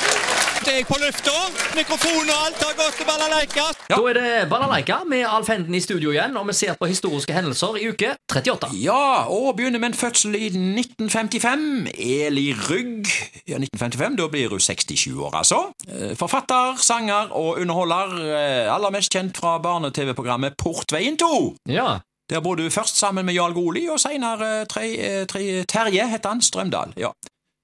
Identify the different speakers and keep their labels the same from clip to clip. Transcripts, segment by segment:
Speaker 1: Først er jeg på lufta. Mikrofon og alt har gått til balalaika.
Speaker 2: Da er det Balalaika med Alf Henden i studio igjen, og vi ser på historiske hendelser i uke 38.
Speaker 3: Ja, og begynner med en fødsel i 1955. Eli Rygg. Ja, 1955, da blir hun 67 år, altså. Eh, Forfatter, sanger og underholder. eh, Aller mest kjent fra barne-TV-programmet Portveien 2.
Speaker 2: Ja,
Speaker 3: Der bodde hun først sammen med Jarl Goli, og senere eh, tre, eh, tre, Terje, het han, Strømdal. Ja.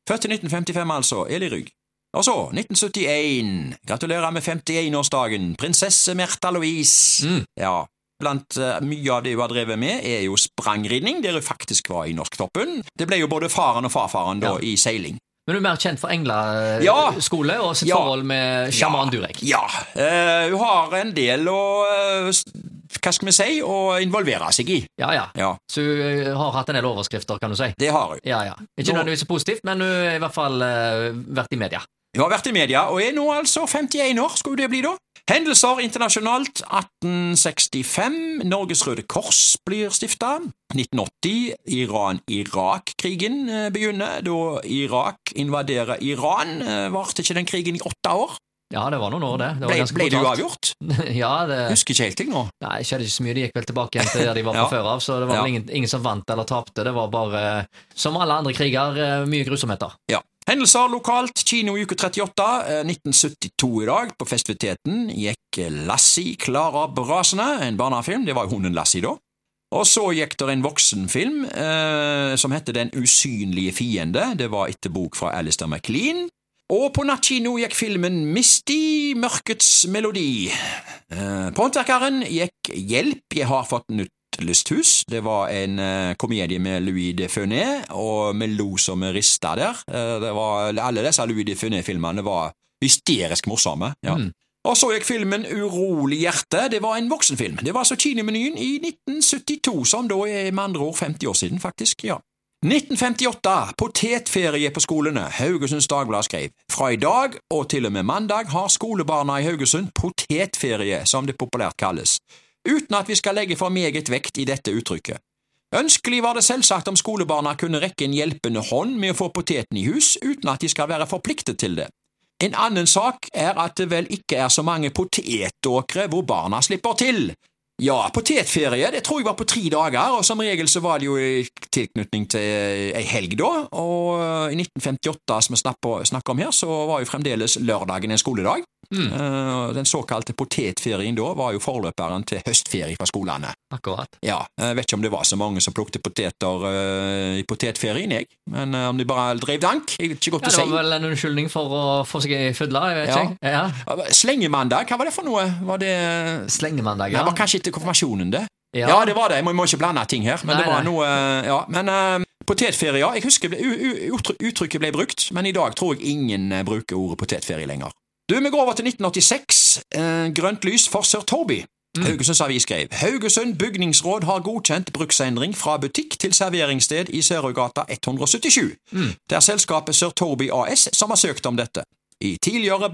Speaker 3: Født i 1955, altså. Eli Rygg. Og så, 1971. Gratulerer med 51-årsdagen. Prinsesse Märtha Louise.
Speaker 2: Mm.
Speaker 3: Ja. Blant eh, mye av det hun har drevet med, er jo sprangridning, der hun faktisk var i norsktoppen. Det ble jo både faren og farfaren da
Speaker 2: Ja.
Speaker 3: i seiling.
Speaker 2: Men du er mer kjent for
Speaker 3: Ja.
Speaker 2: englaskole og sitt
Speaker 3: Ja.
Speaker 2: forhold med sjaman Durek.
Speaker 3: Ja. eh, hun har en del å eh, s- Hva skal vi si? Å involvere seg i.
Speaker 2: Ja, ja.
Speaker 3: Ja,
Speaker 2: Så hun har hatt en del overskrifter, kan du si.
Speaker 3: det har hun.
Speaker 2: Ja, ja. Ikke
Speaker 3: Nå-
Speaker 2: nødvendigvis positivt, men hun har i hvert fall eh, vært i media.
Speaker 3: Hun har vært i media, og er nå altså 51 år, skulle det bli da. Hendelser internasjonalt 1865, Norges Røde Kors blir stifta. 1980, Iran-Irak-krigen eh, begynner, da Irak invaderer Iran. Eh, Varte ikke den krigen i åtte år?
Speaker 2: Ja, det var noen år, det. det var
Speaker 3: Ble,
Speaker 2: ganske
Speaker 3: ble det
Speaker 2: brutalt.
Speaker 3: uavgjort?
Speaker 2: ja, det
Speaker 3: Husker ikke helt jeg nå.
Speaker 2: nei, skjedde ikke så mye. De gikk vel tilbake igjen til der de var fra
Speaker 3: Ja.
Speaker 2: før av, så det var
Speaker 3: Ja.
Speaker 2: vel ingen, ingen som vant eller tapte. Det var bare, eh, som alle andre kriger, eh, mye grusomheter.
Speaker 3: Ja. Hendelser lokalt, kino i uke 38, eh, 1972 i dag, på festiviteten gikk eh, Lassie Klara Brasene, en barnefilm, det var jo hunden Lassie da. Og så gikk det en voksenfilm eh, som hette Den usynlige fiende, det var etter bok fra Alistair MacLean. Og på nattkino gikk filmen Misty, mørkets melodi. Eh, på håndverkeren gikk Hjelp, jeg har fått nytt lysthus. Det var en eh, komedie med Louis de Funès, og vi lo som vi rista der. Eh, det var, alle disse Louis de Funès-filmene var hysterisk morsomme. Ja.
Speaker 2: Mm.
Speaker 3: Og så gikk filmen Urolig hjerte. Det var en voksenfilm. Det var altså Kinemenyen i 1972, som da er med andre ord 50 år siden, faktisk. ja. 1958. Potetferie på skolene. Haugesunds Dagblad skrev fra i dag og til og med mandag har skolebarna i Haugesund potetferie, som det populært kalles, uten at vi skal legge for meget vekt i dette uttrykket. Ønskelig var det selvsagt om skolebarna kunne rekke en hjelpende hånd med å få poteten i hus, uten at de skal være forpliktet til det. En annen sak er at det vel ikke er så mange potetåkre hvor barna slipper til. Ja, potetferie, det tror jeg var på tre dager, og som regel så var det jo i tilknytning til eh, ei helg da, og eh, i 1958 som vi snakker snakker om her, så var jo fremdeles lørdagen en skoledag.
Speaker 2: Mm.
Speaker 3: Eh, Den såkalte potetferien da var jo forløperen til høstferie fra skolene.
Speaker 2: Akkurat.
Speaker 3: Ja, jeg vet ikke om det var så mange som plukte poteter eh, i potetferien, jeg, men eh, om de bare drev dank, jeg vet ikke
Speaker 2: Ja,
Speaker 3: godt å
Speaker 2: det
Speaker 3: si.
Speaker 2: var vel en unnskyldning for å få seg ei fudle, jeg vet
Speaker 3: Ja.
Speaker 2: ikke. Ja.
Speaker 3: Slengemandag, hva var det for noe? Var det
Speaker 2: Slengemandag,
Speaker 3: Nei,
Speaker 2: ja.
Speaker 3: Det var kanskje etter konfirmasjonen, det. Ja, det var det. Jeg må, jeg må ikke blande ting her.
Speaker 2: Nei,
Speaker 3: Men det var
Speaker 2: nei.
Speaker 3: noe Ja, men eh, potetferie, ja. Jeg husker ble, u, u, uttrykk- uttrykket ble brukt, men i dag tror jeg ingen eh, bruker ordet potetferie lenger. Du, vi går over til 1986. Eh, grønt lys for Sir Toby. Haugesunds Avis skrev Haugesund bygningsråd har godkjent bruksendring fra butikk til serveringssted i Sørøygata 177. Det er selskapet Sir Toby AS som har søkt om dette. I tidligere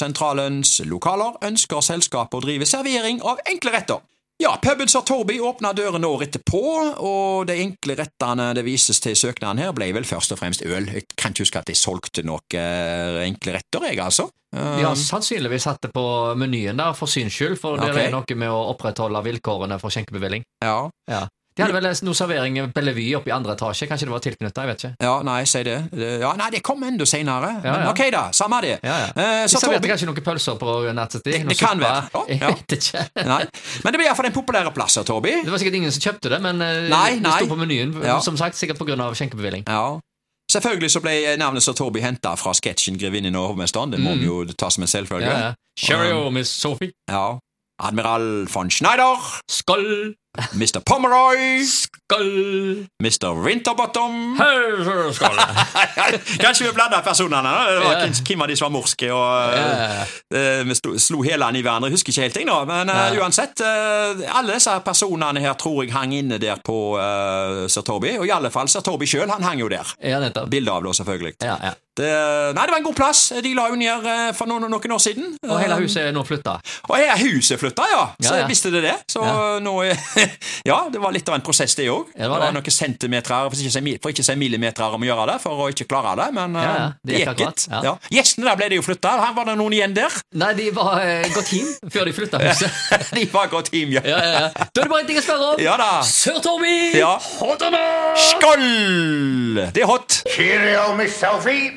Speaker 3: Barnevognsentralens lokaler ønsker selskapet å drive servering av enkle retter. Ja, puben Sir Torby åpna dørene året etterpå, og de enkle rettene det vises til i søknaden her, ble vel først og fremst øl. Jeg kan ikke huske at de solgte noen eh, enkle retter, jeg, altså.
Speaker 2: De har sannsynligvis hatt det på menyen der, for syns skyld, for det
Speaker 3: Ok.
Speaker 2: er noe med å opprettholde vilkårene for skjenkebevilling.
Speaker 3: Ja.
Speaker 2: De hadde vel noe servering i Bellevue oppe i andre etasje, kanskje det var tilknyttet, jeg vet ikke.
Speaker 3: Ja, nei, si det. Det- Ja, nei, det kom enda senere.
Speaker 2: Ja,
Speaker 3: Men
Speaker 2: ja.
Speaker 3: ok da, samme det.
Speaker 2: Ja, ja.
Speaker 3: Eh,
Speaker 2: De
Speaker 3: Sir
Speaker 2: serverte
Speaker 3: Torby-
Speaker 2: kanskje noen pølser på nattetid?
Speaker 3: Det-
Speaker 2: noe
Speaker 3: det kan
Speaker 2: suppe.
Speaker 3: være. Ja, ja.
Speaker 2: Jeg vet ikke.
Speaker 3: Nei. Men det ble iallfall en populær plass, Sir Torby.
Speaker 2: Det var sikkert ingen som kjøpte det, men eh,
Speaker 3: Nei,
Speaker 2: det sto
Speaker 3: nei.
Speaker 2: på menyen,
Speaker 3: Ja.
Speaker 2: som sagt, sikkert på grunn av skjenkebevilling.
Speaker 3: Ja. Selvfølgelig så ble navnet Sir Torby henta fra sketsjen 'Grevinnen og hovmesteren'. Det må vi jo ta som en selvfølge.
Speaker 2: Mm. Ja, ja. Cheerio, Miss Sophie.
Speaker 3: Ja. Admiral von Schneider,
Speaker 2: Skål!
Speaker 3: Mr. Pomeroy,
Speaker 2: Skål!
Speaker 3: Mr. Winterbottom
Speaker 2: Hei, Skål!
Speaker 3: Kanskje vi blanda personene. da. Det var
Speaker 2: Ja.
Speaker 3: hvem- Hvem av de som var morske? Og,
Speaker 2: Ja.
Speaker 3: eh, vi slo, slo hælene i hverandre. Jeg husker ikke helt, jeg nå. Men eh,
Speaker 2: Ja.
Speaker 3: uansett, eh, alle disse personene her tror jeg hang inne der på eh, Sir Toby. Og i alle fall Sir Toby sjøl, han hang jo der.
Speaker 2: Ja, nettopp.
Speaker 3: Bilde av det, selvfølgelig.
Speaker 2: Ja, ja.
Speaker 3: Det, nei, det var en god plass. De la jo ned eh, for noen, noen år siden.
Speaker 2: Og hele huset er nå flytta.
Speaker 3: Og jeg er huset flytta, ja. Så
Speaker 2: Ja, ja.
Speaker 3: jeg visste det det. Så
Speaker 2: Ja.
Speaker 3: nå er, Ja, det var litt av en prosess, det òg.
Speaker 2: Ja, det
Speaker 3: det
Speaker 2: var
Speaker 3: var
Speaker 2: det.
Speaker 3: noen centimeter, for ikke å si mil- for ikke å si millimeter, om å gjøre det, for å ikke klare det, men
Speaker 2: Ja, ja,
Speaker 3: eh,
Speaker 2: det gikk akkurat,
Speaker 3: gitt.
Speaker 2: ja.
Speaker 3: Ja. Gjestene der ble det jo flytta. Her var det noen igjen der.
Speaker 2: Nei, de var eh, gått hjem før de flytta huset.
Speaker 3: De var godt hjem, ja.
Speaker 2: Ja, ja, ja. Da er det bare en ting å spørre om.
Speaker 3: Ja da.
Speaker 2: Sir Tommy!
Speaker 3: Ja.
Speaker 2: Hot or not?
Speaker 3: Skål! Det er hot.
Speaker 4: Cheerio, Miss Sophie.